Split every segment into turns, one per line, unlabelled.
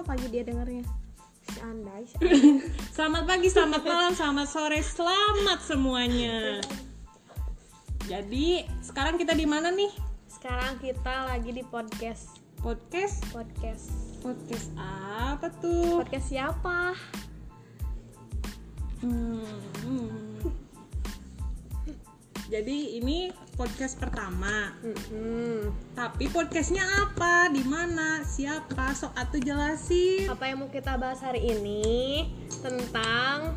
pagi dia dengernya seandai
Selamat pagi, selamat malam, selamat sore, selamat semuanya. Jadi sekarang kita di mana nih?
sekarang kita lagi di podcast
Podcast,
podcast
podcast apa tuh?
podcast siapa
Hmm, hmm. Jadi ini podcast pertama. Tapi podcastnya apa? Di mana? Siapa? Sok atuh jelasin.
apa yang mau kita bahas hari ini tentang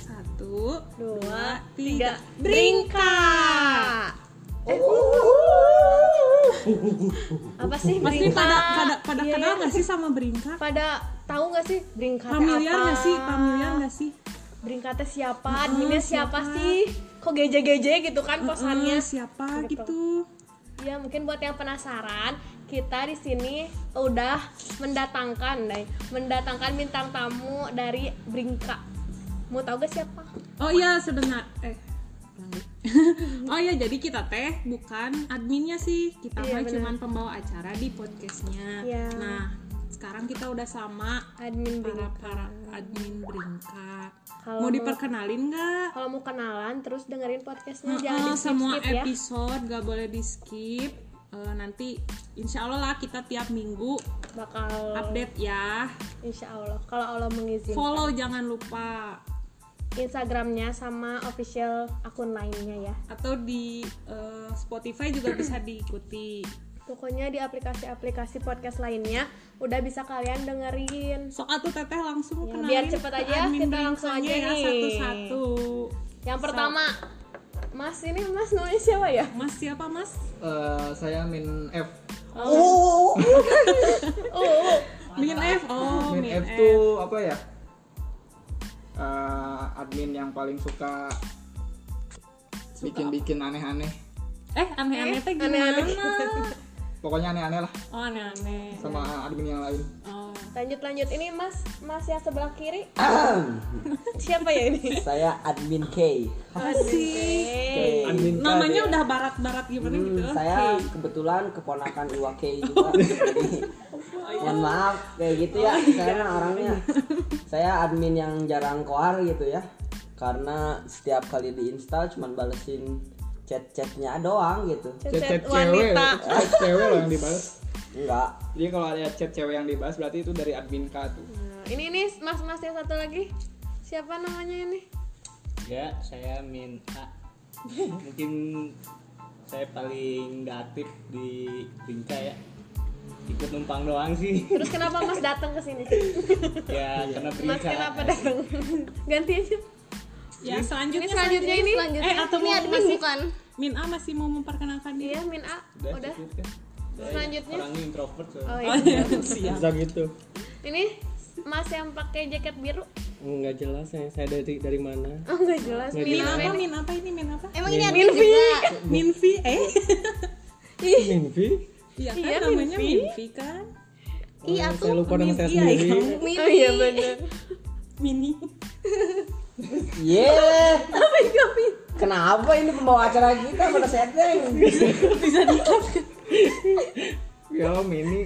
Satu,
Dua, tiga.
Bringka.
Ah. Eh,
Oh.
apa sih
Pasti
Brinka?
pada pada pada
Iya,
kenal
iya.
nggak sih sama Brinka?
pada tahu nggak sih bringkat
Familiar
apa
nggak sih? Familiar nggak sih?
Bringkatnya siapa
Heeh,
adminnya siapa,
Ah, siapa?
sih kok geje-geje gitu kan
Pesannya
kosannya
siapa
Gitu.
gitu?
Ya mungkin buat yang penasaran, kita di sini udah mendatangkan, Day. mendatangkan bintang tamu dari Bringka. Mau tahu gak siapa?
Oh iya sedengar eh oh iya jadi kita teh bukan adminnya sih kita
Iya,
mah
benar.
cuman pembawa acara di podcastnya
Iya.
nah sekarang kita udah sama
Admin
para
Bringka.
para admin Brinka
Kalau
mau
mau-
diperkenalin nggak
Kalau mau kenalan, terus dengerin podcastnya
Heeh,
jangan di
semua
skip ya.
episode gak boleh di skip Eh, nanti insya Allah lah kita tiap minggu
Bakal
update ya
Insya Allah, kalau Allah mengizinkan.
follow jangan lupa
Instagramnya sama official akun lainnya ya.
atau di eh, Spotify juga bisa diikuti
Pokoknya di aplikasi-aplikasi podcast lainnya udah bisa kalian dengerin.
sok atuh teteh langsung
Ya,
kenalin
biar cepet
ke
aja,
admin
kita langsung
Brinksanya
aja
ya
nih.
satu-satu
Yang pertama, Mas ini Mas namanya siapa ya?
mas siapa mas
Eh, saya min F.
Oh,
min F oh
min, F, tuh apa ya? Eh, admin yang paling suka bikin-bikin aneh-aneh.
eh aneh-aneh teh gimana
aneh-aneh.
Pokoknya aneh-aneh lah
oh aneh-aneh
sama admin yang lain.
oh
lanjut lanjut ini mas mas yang sebelah kiri siapa ya ini
Saya admin K.
Asik.
Eh.
Hey.
Admin K
namanya
dia.
udah barat-barat gimana
Hmm,
gitu
saya
Oke.
kebetulan keponakan Iwa K juga. Jadi, mohon maaf kayak gitu ya. Saya emang orangnya. Saya admin yang jarang koar gitu ya. Karena setiap kali diinstal cuman balesin chat-chatnya doang gitu.
Cecet
Chat-chat cewek,
wanita
chat cewek loh yang dibahas.
Enggak.
Jadi kalau ada chat cewek yang dibahas berarti itu dari admin K tuh.
Nah, ini ini mas mas yang satu lagi siapa namanya ini
Enggak, saya minta mungkin saya paling nggak aktif di Bingka ya ikut numpang doang sih
terus kenapa mas datang ke sini
ya karena
mas
Bingka
kenapa datang ganti aja
ya selanjutnya
ini selanjutnya ini
eh atau
ini
mau
admin
masih
bukan
min A masih mau memperkenalkan diri
iya min a
udah,
udah
cukup ya.
selanjutnya
orangnya introvert so.
oh
oh
iya
iya siap
Bisa gitu.
ini mas yang pakai jaket biru
nggak jelas ya saya dari dari mana
oh nggak jelas min
min apa
apa
min apa ini min apa
emang ini admin juga
min V eh
Minvi
iya
Iya,
kan namanya
Min V.
min V kan
i
Oh,
atau
saya lupa dengan saya
Min- iya,
sendiri
iya.
mini
oh iya benar
mini
Yeah. Kenapa ini pembawa acara kita pada setting?
Ya mini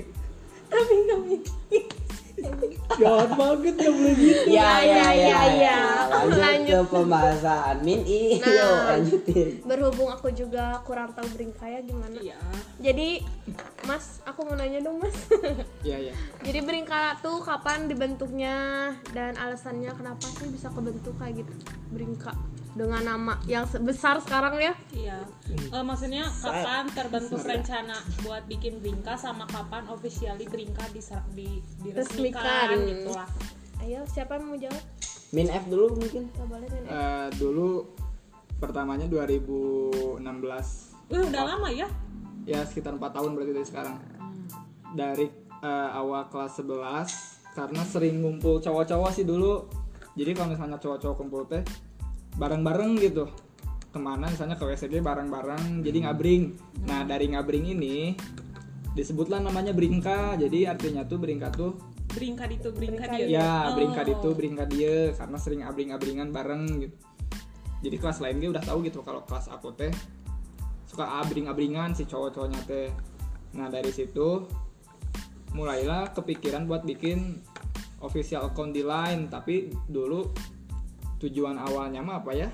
jahat banget nggak boleh gitu
Ya ya
ya,
ya
ya.
ya. Lanjut ke
Lanjut.
pembahasan min i.
Nah.
Yuk, lanjutin.
berhubung aku juga kurang tahu bringka ya gimana
iya
Jadi, Mas, aku mau nanya dong, Mas.
Iya ya.
Jadi beringka tuh kapan dibentuknya dan alasannya kenapa sih bisa kebentuk kayak gitu beringka dengan nama yang sebesar sekarang ya?
Iya. Eh, maksudnya kapan terbentuk rencana buat bikin Brinka sama kapan officially Brinka disa- di, diresmikan
Resmikan.
gitu lah.
Ayo, siapa yang mau jawab?
Min F dulu mungkin.
Gak boleh Min.
Eh, dulu pertamanya 2016
Wih, udah lama ya?
ya sekitar 4 tahun berarti dari sekarang dari eh, awal kelas 11 karena sering ngumpul cowok-cowok sih dulu jadi kalau misalnya cowok-cowok kumpul teh bareng-bareng gitu kemana misalnya ke WSD bareng-bareng jadi ngabring nah dari ngabring ini disebutlah namanya bringka jadi artinya tuh bringka tuh
Brinka itu Brinka
Iya,
dia.
ya
Oh.
bringka itu bringka dia karena sering abring-abringan bareng gitu jadi kelas lain dia udah tahu gitu kalau kelas aku teh suka abring-abringan si cowok-cowoknya teh nah dari situ mulailah kepikiran buat bikin official account di Line tapi dulu tujuan awalnya mah apa ya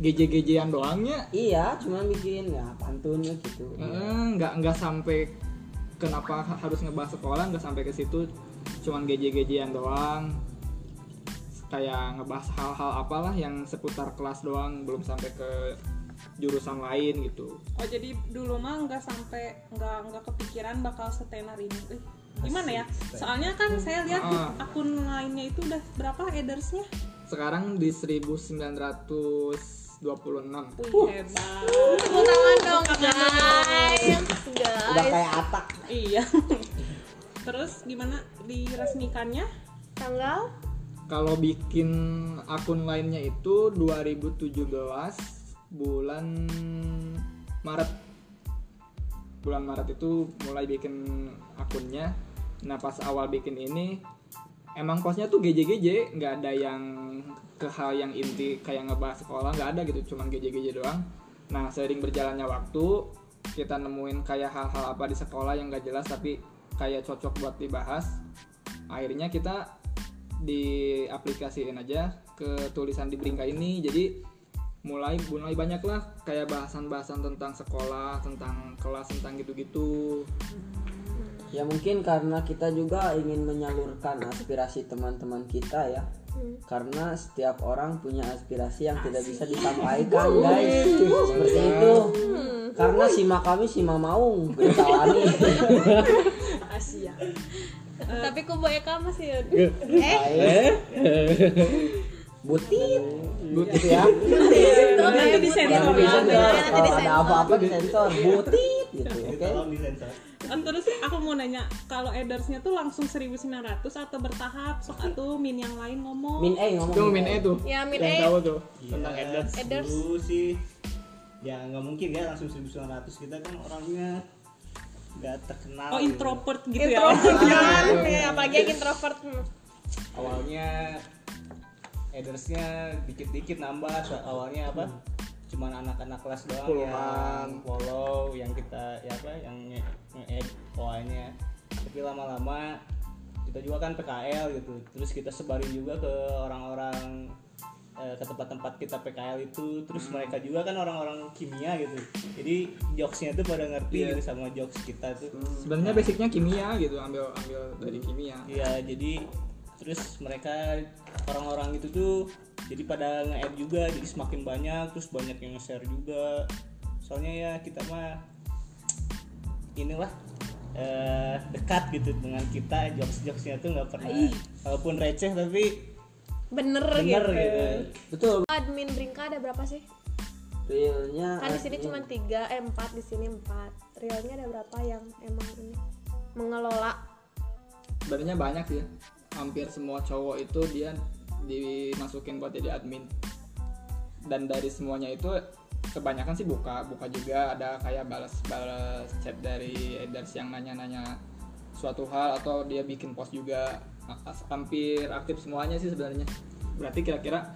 GJ-GJ-an doangnya
Iya, cuman bikin ya pantunnya gitu.
Hmm.
Eh, nggak nggak sampai kenapa ha- harus ngebahas sekolah nggak sampai ke situ cuman geje-gejean doang kayak ngebahas hal-hal apalah yang seputar kelas doang belum sampai ke jurusan lain gitu
Oh jadi dulu mah nggak sampai nggak nggak kepikiran bakal setenar ini. Ih, gimana ya? Soalnya kan
Hmm.
saya lihat di
Ah.
akun lainnya itu udah berapa edersnya?
sekarang di 1926
Wih hebat.
Tepuk tangan dong guys.
Udah
Guys,
kayak atak.
Iya. Terus gimana diresmikannya?
tanggal
kalau bikin akun lainnya itu 2017 bulan Maret bulan Maret itu mulai bikin akunnya nah pas awal bikin ini emang posnya tuh GJGJ nggak ada yang ke hal yang inti kayak ngebahas sekolah nggak ada gitu cuman GJGJ doang nah sering berjalannya waktu kita nemuin kayak hal-hal apa di sekolah yang nggak jelas tapi kayak cocok buat dibahas akhirnya kita diaplikasiin aja ke tulisan di Bringka ini jadi mulai mulai banyak lah kayak bahasan-bahasan tentang sekolah tentang kelas tentang gitu-gitu
Ya mungkin karena kita juga ingin menyalurkan aspirasi teman-teman kita ya. Karena setiap orang punya aspirasi yang tidak bisa disampaikan, guys. Seperti itu.
Hmm.
Karena sima kami sima maung, berita wani.
Asia.
tapi kubu Eka masih ya? Eh.
Butit.
Butit.
Gitu ya.
Nanti
Iya,
disensor ya.
Nanti
Disensor. Kalau
disensor.
ada apa-apa disensor, butit gitu,
Itu
oke?
tolong disensor.
Eh, Terus aku mau nanya, kalau edersnya tuh langsung 1900 atau bertahap? Sok atuh min yang lain ngomong.
Min E ngomong.
itu Min E tuh
Ya, Min
yang
E.
tahu tuh
Tentang Eders.
Edders.
Dulu sih ya nggak mungkin ya langsung 1900 kita kan orangnya nggak terkenal.
Oh introvert gitu ya.
introvert kan Ya, apalagi yang introvert Hmm.
Awalnya Edersnya dikit-dikit nambah so- awalnya apa? Cuman anak-anak kelas doang
Puluhan.
yang follow yang kita ya apa yang nge- nge-add follow-nya. Tapi lama-lama kita juga kan PKL gitu. Terus kita sebarin juga ke orang-orang eh, ke tempat-tempat kita PKL itu terus mereka juga kan orang-orang kimia gitu jadi jokesnya tuh pada ngerti gitu sama jokes kita tuh
Hmm. sebenarnya basicnya kimia gitu ambil ambil dari kimia
Iya, jadi terus mereka orang-orang itu tuh jadi pada nge-add juga, jadi semakin banyak, terus banyak yang nge-share juga. Soalnya ya kita mah inilah eh, dekat gitu dengan kita jokes-jokesnya tuh nggak pernah walaupun receh tapi
bener,
bener
gitu.
gitu.
Betul.
Admin Brinka ada berapa sih?
Realnya
Kan di sini cuma tiga, eh, empat di sini empat. Realnya ada berapa yang emang ini mengelola?
sebenarnya banyak sih ya. hampir semua cowok itu dia dimasukin buat jadi admin dan dari semuanya itu kebanyakan sih buka buka juga ada kayak balas balas chat dari eders yang nanya nanya suatu hal atau dia bikin post juga Ha- hampir aktif semuanya sih sebenarnya berarti kira-kira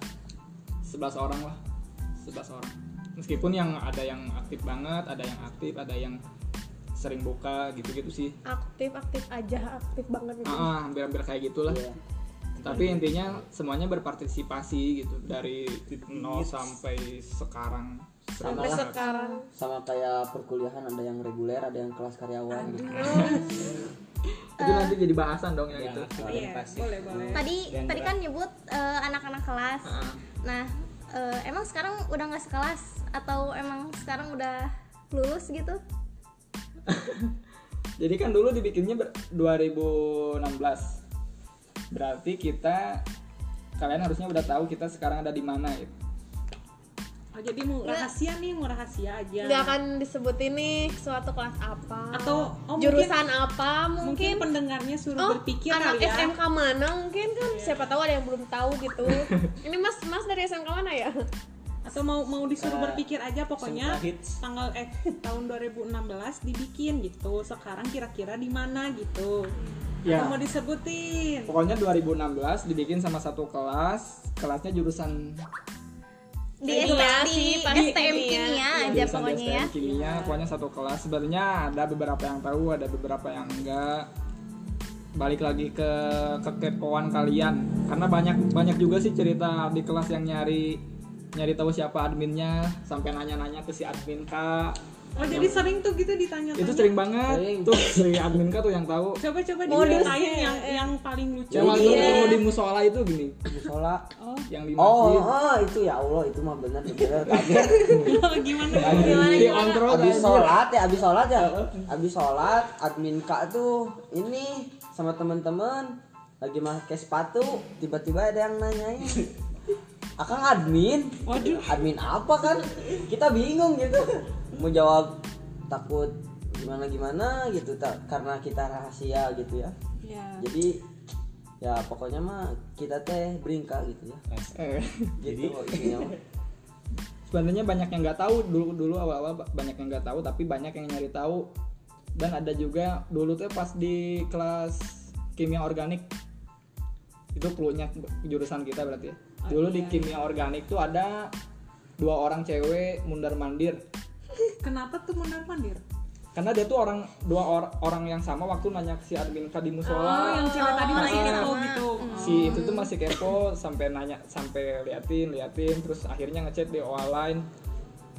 11 orang lah 11 orang meskipun yang ada yang aktif banget ada yang aktif ada yang sering buka gitu-gitu sih
Aktif, aktif aja, aktif banget gitu.
Oh,
Ah, ah, hampir-hampir kayak gitulah.
Iya.
Tapi intinya semuanya berpartisipasi gitu dari nol sampai sekarang.
Sampai
lah.
sekarang.
sama kayak perkuliahan ada yang reguler ada yang kelas karyawan gitu.
Itu nanti jadi bahasan dong ya gitu.
Iya, boleh boleh.
tadi tadi kan nyebut eh, anak-anak kelas
Ah.
nah eh, emang sekarang udah nggak sekelas atau emang sekarang udah lulus gitu
Jadi kan dulu dibikinnya ber- 2016. Berarti kita kalian harusnya udah tahu kita sekarang ada di mana gitu.
Oh, jadi mau rahasia nih, mau rahasia aja.
Nggak akan disebutin nih suatu kelas apa.
Atau oh,
jurusan apa
mungkin, mungkin
mungkin,
pendengarnya suruh
oh
berpikir
anak
kali ya. Iya.
SMK mana mungkin kan siapa tahu ada yang belum tahu gitu ini mas mas dari SMK mana ya
Atau mau mau disuruh
Eh,
berpikir aja pokoknya
SMK hits.
tanggal eh tahun 2016 dibikin gitu. Sekarang kira-kira di mana gitu.
Ya.
Atau mau disebutin.
Pokoknya 2016 dibikin sama satu kelas, kelasnya jurusan
di,
gitu.
Kimia Iya
STM
sih, Iya. pasti
di STM
kimia.
kimia aja
jurusan
pokoknya
DSTM
ya
kimia pokoknya satu kelas sebenarnya ada beberapa yang tahu ada beberapa yang enggak balik lagi ke kekepoan kalian karena banyak banyak juga sih cerita di kelas yang nyari nyari tahu siapa adminnya sampai nanya-nanya ke si admin kak
Oh jadi sering tuh gitu ditanya-tanya.
itu sering banget
Sering.
tuh si admin kak tuh yang tahu
Coba-coba
Modusnya,
diceritain yang
Iya.
yang paling
Iya.
lucu. gitu.
yang waktu dulu di musola itu gini
musola
yang di
oh,
masjid
oh itu ya Allah itu mah bener bener tapi
Gimana?
di kan. kontrol
abis sholat ya abis sholat ya abis sholat admin kak tuh ini sama temen-temen lagi pakai sepatu tiba-tiba ada yang nanyain akang admin
Waduh.
admin apa kan kita bingung gitu mau jawab takut gimana gimana gitu tak karena kita rahasia gitu ya
Ya.
jadi ya pokoknya mah kita teh beringka gitu ya
Eh,
gitu intinya mah.
sebenarnya banyak yang nggak tahu dulu dulu awal-awal ba- banyak yang nggak tahu tapi banyak yang nyari tahu dan ada juga dulu tuh pas di kelas kimia organik itu cluenya jurusan kita berarti ya.
Ah,
Dulu
iya.
di kimia organik tuh ada dua orang cewek mundar mandir
Kenapa tuh mondar mandir?
karena dia tuh orang dua or- orang yang sama waktu nanya si admin Kak di
Oh,
musola
yang cewek tadi masih
Oh.
kepo gitu.
si itu tuh masih kepo sampai nanya sampai liatin liatin terus akhirnya ngechat di OA lain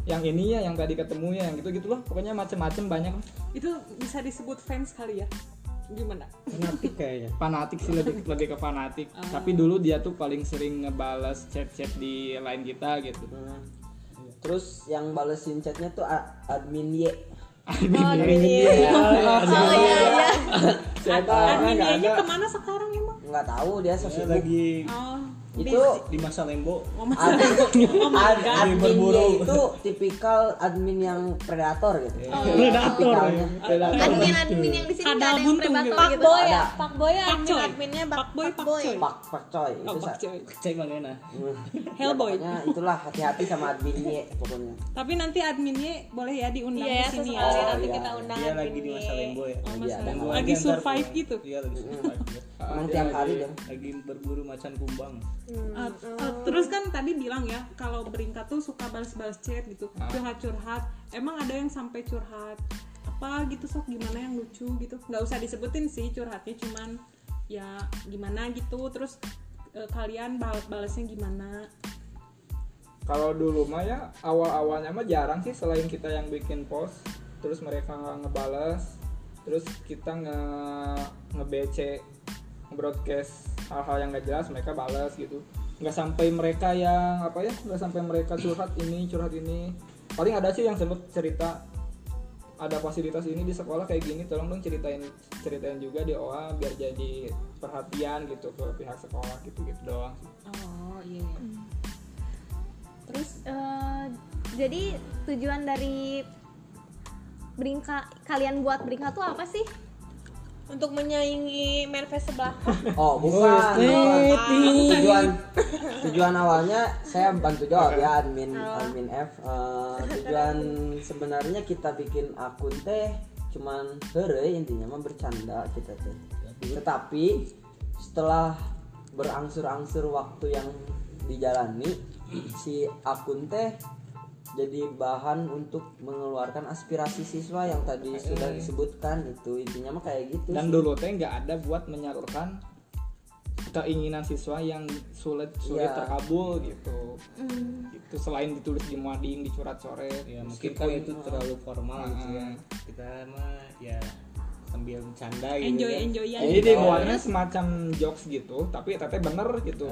yang ini ya yang tadi ketemu ya yang gitu gitu loh pokoknya macem-macem banyak
Itu bisa disebut fans kali ya? Gimana?
fanatik kayaknya
fanatik sih lebih lebih ke fanatik tapi dulu dia tuh paling sering ngebales chat-chat di line kita gitu
Hmm. terus yang balesin chatnya tuh a- admin Y
Oh iya iya.
Admin dia kemana sekarang emang?
nggak tahu dia
Saya
sosok
lagi
Oh,
itu
di masa lembo
admin, ad- admin dia
Berburu.
itu tipikal admin yang predator gitu
Oh, iya.
predator
Tipikalnya.
admin admin yang di sini
Kadal
nggak ada yang
buntung
predator
gitu.
Pak
gitu
Boy ya,
Ada.
Pak Boy ya,
Pak
admin
Coy.
adminnya
Pak Boy, Pak Coy.
pak pak coy itu
Oh, Pak
sa-
Coy.
cek mangena
Hmm.
Hellboy.
Ya, pokoknya itulah hati-hati sama admin Y pokoknya
Tapi nanti adminnya boleh ya diundang
Iya ya,
ke sini
sesekali
Oh,
ya.
nanti
iya.
kita undang
dia lagi di
adminnya.
masa lembo
Oh,
ya
Iya,
Mas
ada.
Lembo.
Gua
lagi
antar
survive
pulang.
gitu.
iya lagi survive dia.
emang tiap kali dong
lagi berburu macan kumbang
Uh, uh, terus kan tadi bilang ya kalau beringkat tuh suka balas-balas chat gitu curhat-curhat emang ada yang sampai curhat apa gitu sok gimana yang lucu gitu nggak usah disebutin sih curhatnya cuman ya gimana gitu terus eh, kalian bal balesnya gimana
kalau dulu mah ya awal-awalnya mah jarang sih selain kita yang bikin post terus mereka ngebales terus kita nge nge BC broadcast hal-hal yang gak jelas mereka balas gitu nggak sampai mereka yang apa ya nggak sampai mereka curhat ini curhat ini paling ada sih yang sempet cerita ada fasilitas ini di sekolah kayak gini tolong dong ceritain ceritain juga di OA biar jadi perhatian gitu ke pihak sekolah gitu gitu doang sih.
oh iya
terus eh, jadi tujuan dari beringka kalian buat beringka tuh apa sih
Untuk menyaingi manifest sebelah.
oh bukan bukan.
Nih,
tujuan tujuan awalnya saya bantu jawab ya admin admin F Eh, tujuan sebenarnya kita bikin akun teh cuman hore intinya mah bercanda kita teh tetapi setelah berangsur-angsur waktu yang dijalani si akun teh jadi bahan untuk mengeluarkan aspirasi siswa yang tadi sudah disebutkan itu intinya mah kayak gitu
dan
sih.
dulu teh nggak ada buat menyalurkan keinginan siswa yang sulit sulit
Iya.
terkabul gitu
Hmm.
itu selain ditulis di mading dicurat coret
ya mungkin kan
meskipun
itu terlalu formal gitu ya kita mah ya sambil bercanda gitu
enjoy
Iya.
kan.
enjoyan
jadi di luarnya semacam jokes gitu tapi teteh bener gitu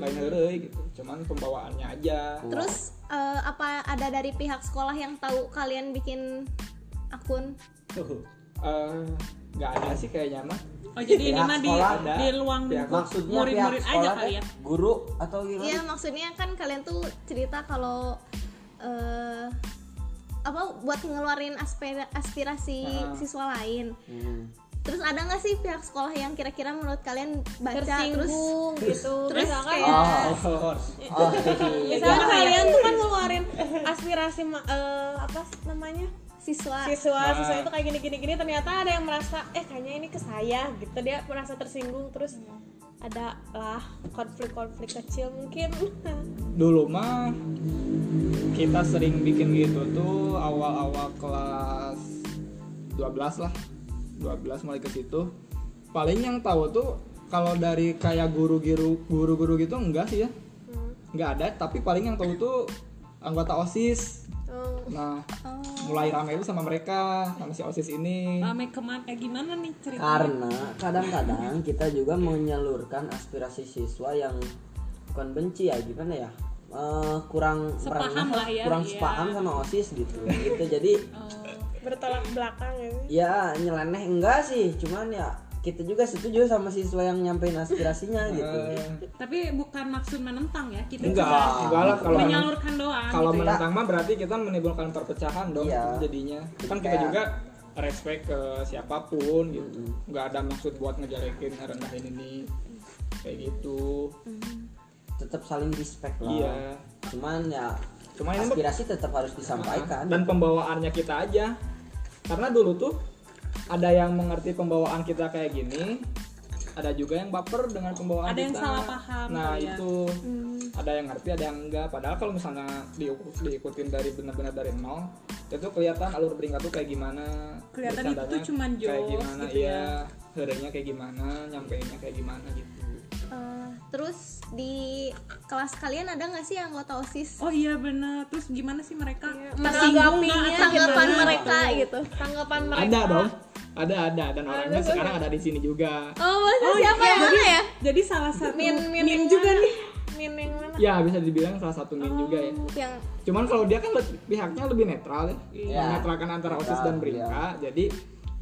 lain heureuy gitu cuman pembawaannya aja
terus eh, apa ada dari pihak sekolah yang tahu kalian bikin akun
Eh, nggak ada sih kayaknya mah
oh jadi ini
Pihak
mah di,
sekolah
Iya, ada. Iya.
di luang minggu
maksudnya pihak
Iya, kan? murid-murid aja
sekolah
kali
teh,
ya
guru atau gimana
Iya maksudnya kan kalian tuh cerita kalau eh, apa buat ngeluarin aspira- aspirasi siswa lain.
Hmm.
Terus ada nggak sih pihak sekolah yang kira-kira menurut kalian baca terus
Tersinggung gitu.
terus
Misalkan
kayak
Oh, oh,
Iya,
misalkan kalian tuh kan ngeluarin aspirasi ma- eh, apa namanya?
siswa
siswa Nah, siswa itu kayak gini gini gini ternyata ada yang merasa eh kayaknya ini ke saya gitu dia merasa tersinggung terus ada lah konflik-konflik kecil mungkin
dulu mah kita sering bikin gitu tuh awal-awal kelas 12 lah 12 mulai ke situ paling yang tahu tuh kalau dari kayak guru-guru guru-guru gitu enggak sih ya
Hmm.
nggak ada tapi paling yang tahu tuh anggota osis
Oh,
nah mulai ramai itu sama mereka sama si osis ini
Oh. Rame kemana? Eh, gimana nih cerita?
karena kadang-kadang kita juga menyalurkan aspirasi siswa yang bukan benci ya gimana ya eh, kurang
Sepaham
merengah,
lah ya,
kurang
iya. Oh.
sepaham sama osis gitu gitu jadi
bertolak belakang ya.
ya nyeleneh enggak sih cuman ya kita juga setuju sama siswa yang nyampein aspirasinya gitu
Eh.
Tapi bukan maksud menentang ya, kita
enggak
cuma
enggak lah kalau
menyalurkan doang.
kalau
gitu.
menentang mah berarti kita menimbulkan perpecahan dong
Iya.
itu jadinya kan
Jadi
kita
kayak-
juga respect ke siapapun gitu nggak ada maksud buat ngejelekin rendahin ini kayak gitu
tetap saling respect lah
iya
cuman ya
Cuman ini
aspirasi tetap harus disampaikan
Nah, dan pembawaannya kita aja karena dulu tuh ada yang mengerti pembawaan kita kayak gini ada juga yang baper dengan pembawaan
Ada yang
kita.
salah paham
nah
kali ya.
itu ada yang ngerti ada yang enggak padahal kalau misalnya diukur- diikutin dari benar-benar dari nol itu kelihatan alur peringkat tuh kayak gimana
Kelihatan itu
bercandanya
cuman
kayak
jokes
gimana
gitu
iya harinya kayak gimana nyampeinnya kayak gimana gitu
Eh, terus di kelas kalian ada nggak sih anggota osis
Oh iya benar. Terus gimana sih mereka? Tersinggung
Iya, Menanggapinya
nggak?
tanggapan
gimana?
mereka gitu
Tanggapan mereka.
ada dong ada ada dan orangnya sekarang ada di sini juga
oh maksudnya siapa yang mana ya
Jadi salah satu
Min, min,
meme
yang
iya. juga
mana?
nih. Iya.
Min yang mana?
ya bisa dibilang salah satu min
Oh.
juga ya
yang
Cuman kalau dia kan le- pihaknya lebih netral ya.
Iya.
Menetralkan antara OSIS
Netral,
dan BRINKA. Jadi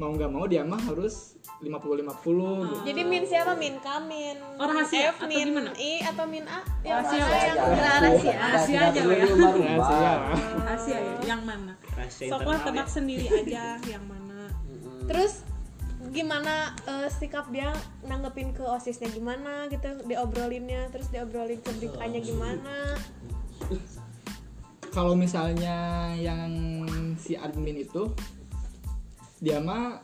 mau nggak mau dia mah harus 50-50 gitu.
Jadi min siapa? Min K, min
Oh, rahasia
F,
atau
min
gimana?
I atau min A? Yang
Rahasia
mana yang
rahasia.
Rahasia aja
perlu
ya.
Ya,
diubah-ubah.
sih, ya.
Rahasia ya, yang mana?
Rahasia
Soklah
internal
tebak
ya.
sendiri aja yang mana.
Terus gimana eh, sikap dia nanggepin ke osisnya gimana gitu diobrolinnya terus diobrolin ke
Oh.
brikanya gimana
Kalau misalnya yang si admin itu dia mah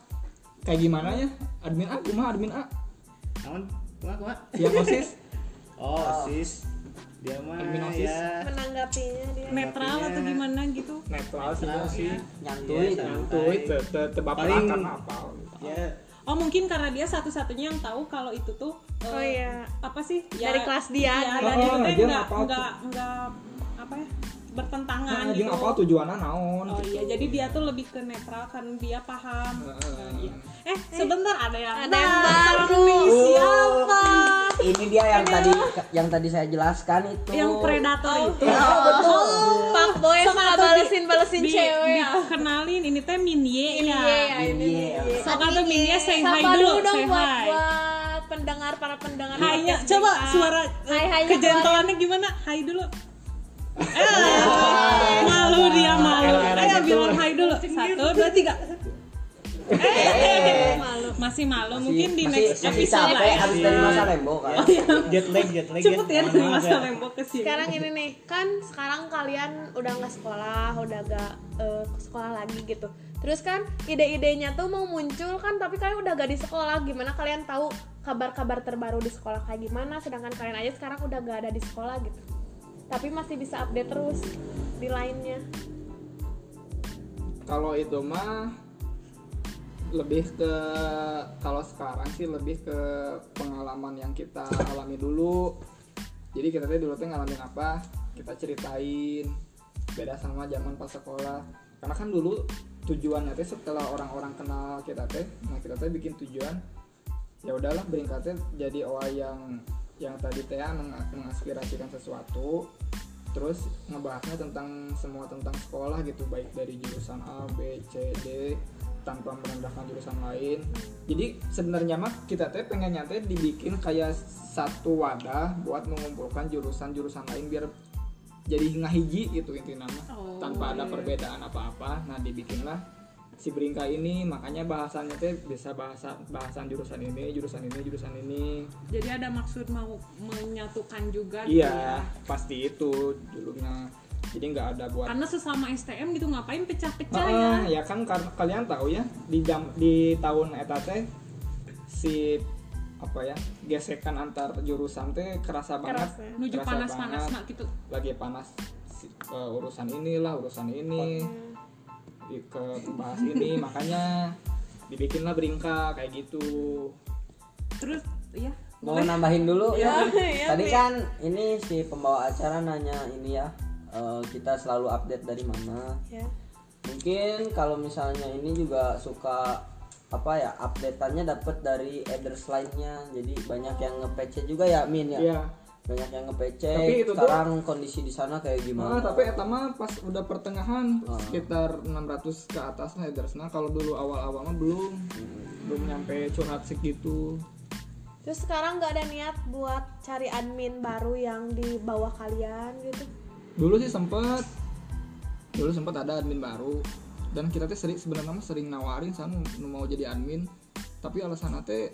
kayak gimana ya? Admin A, kumaha admin A?
Namun, kumaha, kumaha?
Yang OSIS
Oh, sis. Dia mah
Admin OSIS.
ya.
menanggapinya
Iya,
dia
Netral atau gimana gitu?
netral sih ya sih.
Nyantui,
Iya,
Santuy, te te tebaperan
Paling-
karena apa?
Ya,
Oh mungkin karena dia satu-satunya yang tahu kalau itu tuh eh,
Oh, iya.
apa sih
Dari kelas dia, gitu.
ya, dari
Oh,
itu teh
dia
nggak
ngapal tuh.
nggak nggak apa ya bertentangan
Nah,
gitu.
jeung apa tujuannya naon
Oh
gitu.
iya, jadi dia tuh lebih ke netral kan dia paham.
Heeh.
Iya. Eh sebentar ada yang
ada yang
baru
baru
Oh,
nih, siapa?
ini dia yang tadi yang tadi saya jelaskan itu
Yang
Oh.
predator itu.
pak boy Oh,
Sama
ya, malah
tuh
balesin balesin
Di,
cewek ya.
dikenalin ini teh Minye ya.
Iya, ini
Iya.
dia.
Sokal tuh Minye say hi
Sapa
dulu,
dulu dong
say
buat, Iya,
hi.
buat pendengar para pendengar.
Hai-nya,
podcast
coba
BK.
suara
Hai, hai-nya
kejentolannya gimana? Hai dulu. Eh, malu dia malu. Ayo bilang hai dulu. Satu, dua, tiga. Eh, masih malu. Mungkin di
masih,
next
masih
episode lah ya.
capek
Iya.
habis dari masa Lembo kan
jet lag, jet lag.
Cepet ya
Mohon
dari
maaf
masa Lembo ke sini.
Sekarang ini nih, kan sekarang kalian udah nggak sekolah, udah nggak eh, ke sekolah lagi gitu. Terus kan ide-idenya tuh mau muncul kan, tapi kalian udah gak di sekolah. Gimana kalian tahu kabar-kabar terbaru di sekolah kayak gimana? Sedangkan kalian aja sekarang udah gak ada di sekolah gitu. Tapi masih bisa update terus di lainnya.
Kalau itu mah lebih ke kalau sekarang sih lebih ke pengalaman yang kita alami dulu. Jadi kita tadi dulu tuh ngalamin apa, kita ceritain. Beda sama zaman pas sekolah. Karena kan dulu tujuannya teh setelah orang-orang kenal kita teh, nah kita teh bikin tujuan ya udahlah beringkatnya jadi OA yang yang tadi teh meng- mengaspirasikan sesuatu terus ngebahasnya tentang semua tentang sekolah gitu baik dari jurusan A B C D tanpa merendahkan jurusan lain jadi sebenarnya mah kita teh pengen nyate dibikin kayak satu wadah buat mengumpulkan jurusan-jurusan lain biar jadi ngahiji gitu intinya mah
Oh,
tanpa ada perbedaan apa-apa nah dibikinlah si Bringka ini makanya bahasannya teh bisa bahasa bahasan jurusan ini jurusan ini jurusan ini
Jadi ada maksud mau menyatukan juga gitu ya.
Iya, pasti itu dulunya. Jadi nggak ada buat.
Karena sesama STM gitu ngapain pecah-pecah ya.
Heeh, ya kan kar- kalian tahu ya di jam di tahun eta teh si apa ya gesekan antar jurusan teh kerasa banget.
Keras ya.
Menuju
Kerasa
panas-panas
banget.
nak gitu.
Lagi panas si- eh, urusan inilah urusan ini di- ke bahas ini makanya dibikinlah beringka kayak gitu
terus ya
mau nambahin dulu
Ya, ya, Pi.
tadi kan ini si pembawa acara nanya ini ya eh, kita selalu update dari mana
Iya.
Ya.
mungkin kalau misalnya ini juga suka apa ya updateannya dapat dari address lainnya jadi banyak yang nge-PC juga ya Min ya
Iya.
banyak yang nge-PC
Tapi itu tuh-
sekarang kondisi di sana kayak
Nah,
gimana
tapi etama pas udah pertengahan sekitar 600 ke atas lah Nah, kalau dulu awal-awal mah belum belum nyampe curhat segitu.
Terus sekarang nggak ada niat buat cari admin baru yang di bawah kalian gitu.
Dulu sih sempet dulu sempet ada admin baru dan kita teh sering sebenarnya mah sering nawarin sama mau jadi admin tapi alasan teh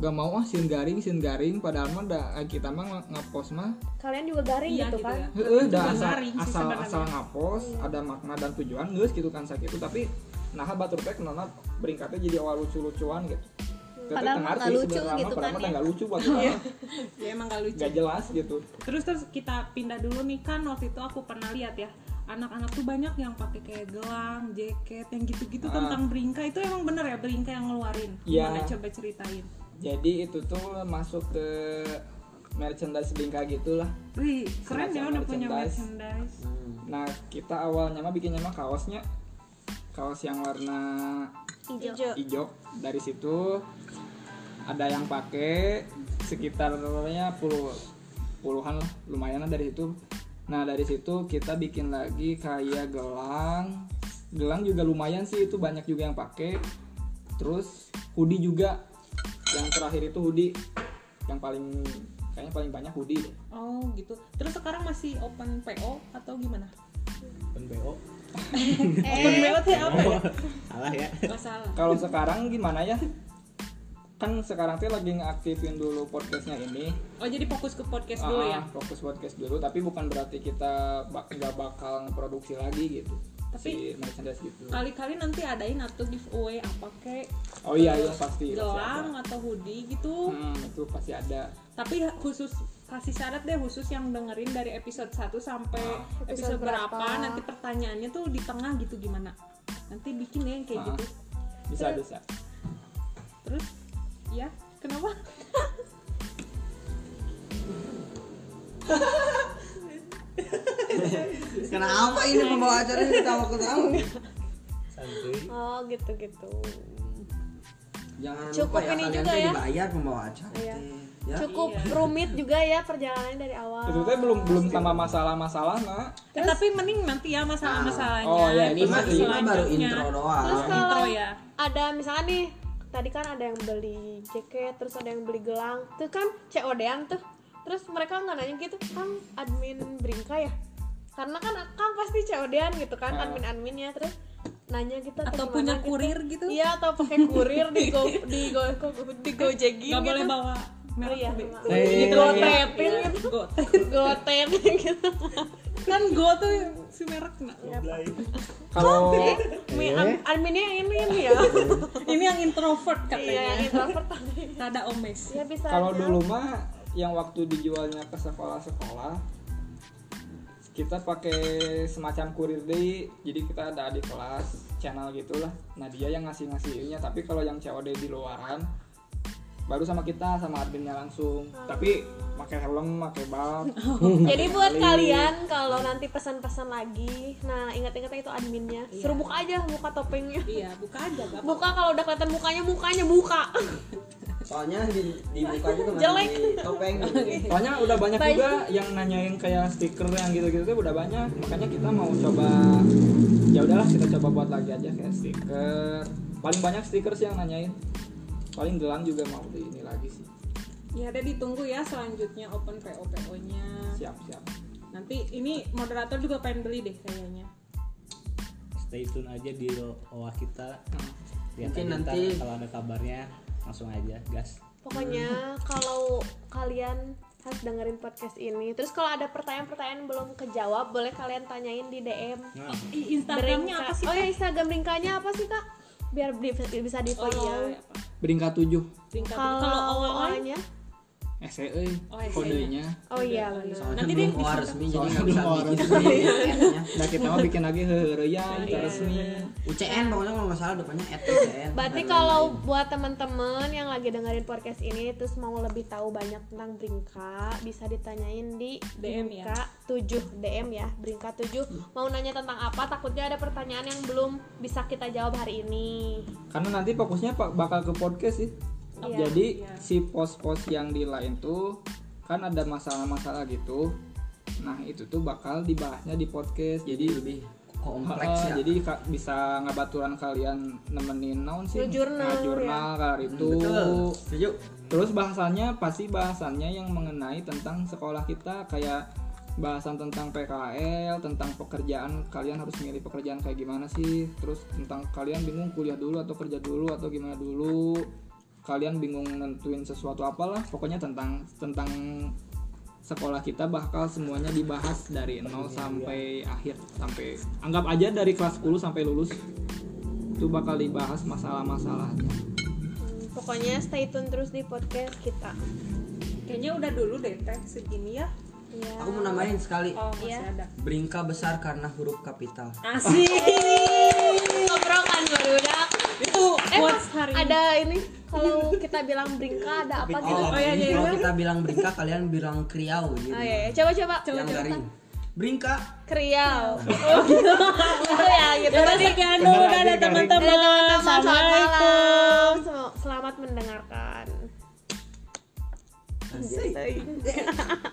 gak mau ah sin garing sin garing padahal mah da, eh, kita mah ngepost mah
Kalian juga garing
Iya,
gitu
gitu
kan.
ya.
Heeh,
Itu
dah
juga
asal
garing sih
asal,
sebenarnya.
asal ngapos, ada makna dan tujuan geus gitu kan sakit itu tapi nah batur teh kenapa beringkatnya jadi awal lucu-lucuan gitu. Teteh teu
Padahal mah
ngerti
nggak lucu
sebenarnya
gitu
mah, padahal
kan
mah
ya.
nggak lucu batur mah.
ya emang gak lucu
nggak jelas gitu.
terus terus kita pindah dulu nih kan waktu itu aku pernah lihat ya anak-anak tuh banyak yang pakai kayak gelang, jaket, yang gitu-gitu tentang beringka itu emang bener ya beringka yang ngeluarin
Iya.
gimana coba ceritain
Jadi itu tuh masuk ke merchandise bingka gitulah.
wih keren ya
Semacam
udah punya
merchandise.
merchandise
Nah, kita awalnya mah bikinnya mah kaosnya kaos yang warna
Ijo.
ijo dari situ ada yang pakai sekitarnya puluh puluhan lah lumayan lah dari situ nah dari situ kita bikin lagi kayak gelang gelang juga lumayan sih itu banyak juga yang pakai terus hoodie juga yang terakhir itu hoodie yang paling kayaknya paling banyak hoodie deh.
oh gitu terus sekarang masih open PO atau gimana
Open BO
open PO tuh apa ya
salah ya
Gak salah
kalau sekarang gimana ya kan sekarang tuh lagi ngeaktifin dulu podcastnya ini
oh jadi fokus ke podcast dulu
Ah,
ya
Fokus podcast dulu, tapi bukan berarti kita bak nggak bakal produksi lagi gitu.
Tapi-
si merchandise
ah.
gitu.
kali-kali nanti adain atau giveaway apa kek
Oh iya, iya pasti. pasti
gelang
ada.
atau hoodie gitu
Hmm, itu pasti ada.
tapi khusus kasih syarat deh khusus yang dengerin dari episode 1 sampai Ah, episode,
Episode
berapa.
berapa.
nanti pertanyaannya tuh di tengah gitu gimana nanti bikin deh yang kayak
Ah.
gitu
Bisa bisa.
ah. terus ya kenapa
kenapa ini pembawa acara ini ketawa ketawa
santuy
Oh gitu-gitu.
jangan
Cukup
lupa ya,
ini
kalian
juga
tuh
ya.
dibayar pembawa acara
Iya.
teh, ya.
Cukup
Iya.
rumit juga ya perjalanannya dari awal.
Itu teh belum belum sama masalah-masalah, Nak.
Eh, tapi mending nanti ya masalah-masalahnya
Oh, ya, ini
Nah, iya, ini mah ini mah baru
selanjutnya. Iya,
intro doang
Terus kalau
intro ya
ada misalnya nih tadi kan ada yang beli jaket terus ada yang beli gelang tuh kan COD-an tuh terus mereka nggak nanya gitu kang admin bringka ya karena kan kang pasti COD-an gitu kan
Ah.
admin adminnya terus nanya gitu gimana
atau punya
gitu.
kurir gitu
iya atau pakai kurir di go di go di gojegin
nggak
gitu
boleh bawa
Oh,
merek
iya,
kurir.
maaf.
Hey.
Go taping gitu
Go-
go taping gitu
kan go tuh si merek nah.
Kalau
eh mi- ad- adminnya ini ini ya
ini yang introvert
iya yang
katanya
introvert tadi
rada omes
ya bisa
kalau
aja.
dulu mah yang waktu dijualnya ke sekolah-sekolah kita pakai semacam kurir deh jadi kita ada di kelas channel gitulah nah dia yang ngasih ngasihinnya tapi kalau yang COD di luaran baru sama kita sama adminnya langsung tapi pakai helm pakai bal
Jadi buat kalian kalau nanti pesan-pesan lagi, nah ingat-ingat itu adminnya. Suruh buka aja buka topengnya.
iya buka aja gak
Buka kalau udah kelihatan mukanya, mukanya buka.
soalnya di dibuka juga
Jelek.
masih topeng gitu.
soalnya udah banyak
Baik.
juga yang nanyain kayak stiker yang gitu-gitu tuh udah banyak makanya kita mau coba ya udahlah kita coba buat lagi aja kayak stiker paling banyak stiker sih yang nanyain paling gelang juga mau di ini lagi sih
Ya ada ditunggu ya selanjutnya open PO PO-nya.
siap siap
Nanti ini moderator juga pengen beli deh kayaknya.
stay tune aja di owa kita lihat
Mungkin
aja ntar
nanti-
kalau ada kabarnya langsung aja gas
Pokoknya kalau kalian harus dengerin podcast ini. Terus kalau ada pertanyaan-pertanyaan belum kejawab, boleh kalian tanyain di DM.
nah
Ih, Instagramnya
Beringka-
apa sih?
Oh ya Instagram ringkanya apa sih kak? Biar di- bisa di follow.
Oh, apa?
beringkat tujuh
Ringkat.
iya, Kalau
Kalau
awalnya
awalnya
SE euy,
Oh, SE -nya.
E, kodenya.
oh iya benar
soalnya
Nanti dia
belum OA
bisa-
resmi jadi
Soalnya
nggak bisa
belum OA
bikin
resmi.
sendiri Iya. kayaknya.
Nah kita mah bikin lagi heureyan
Iya,
resmi.
UCN pokoknya kalau nggak salah depannya at UCN
Berarti kalau buat teman-teman yang lagi dengerin podcast ini terus mau lebih tahu banyak tentang Brinka bisa ditanyain di
DM ya.
Brinka 7 DM ya, Brinka 7. Mau nanya tentang apa? Takutnya ada pertanyaan yang belum bisa kita jawab hari ini.
Karena nanti fokusnya pak bakal ke podcast sih.
Iya.
Jadi
Iya.
si pos-pos yang di lain tuh kan ada masalah-masalah gitu. Nah itu tuh bakal dibahasnya di podcast.
jadi
Jadi
lebih kompleks
Ah,
ya
Jadi ka- bisa ngabaturan kalian nemenin naon sih?
Ngejurnal,
Nah, jurnal kalar itu.
Hmm, betul setuju
Terus bahasannya pasti bahasannya yang mengenai tentang sekolah kita kayak bahasan tentang PKL, tentang pekerjaan kalian harus milih pekerjaan kayak gimana sih? Terus tentang kalian bingung kuliah dulu atau kerja dulu atau gimana dulu? Kalian bingung nentuin sesuatu apalah, pokoknya tentang tentang sekolah kita bakal semuanya dibahas dari nol sampai akhir sampai anggap aja dari kelas 10 sampai lulus itu bakal dibahas masalah-masalahnya.
Hmm, Pokoknya stay tune terus di podcast kita.
Kayaknya udah dulu deh teh segini ya.
Iya.
aku mau nambahin sekali
Oh, masih ada.
Bringka besar karena huruf kapital
Asik.
Ngobrol kan barudak.
Itu
Eh,
quotes
Mas,
hari
ada ini kalau kita bilang Brinka ada apa gitu.
Oh,
Oh, iya,
jadi
iya,
kalau
iya.
kita bilang Bringka kalian bilang kriau gitu.
Oh iya, iya. coba-coba.
yang garing. Bringka.
Kriau. Oh gitu. Gitu ya, gitu.
Tadi kan udah ada teman-teman.
Selamat
Assalamualaikum.
malam. Selamat mendengarkan.
Asik.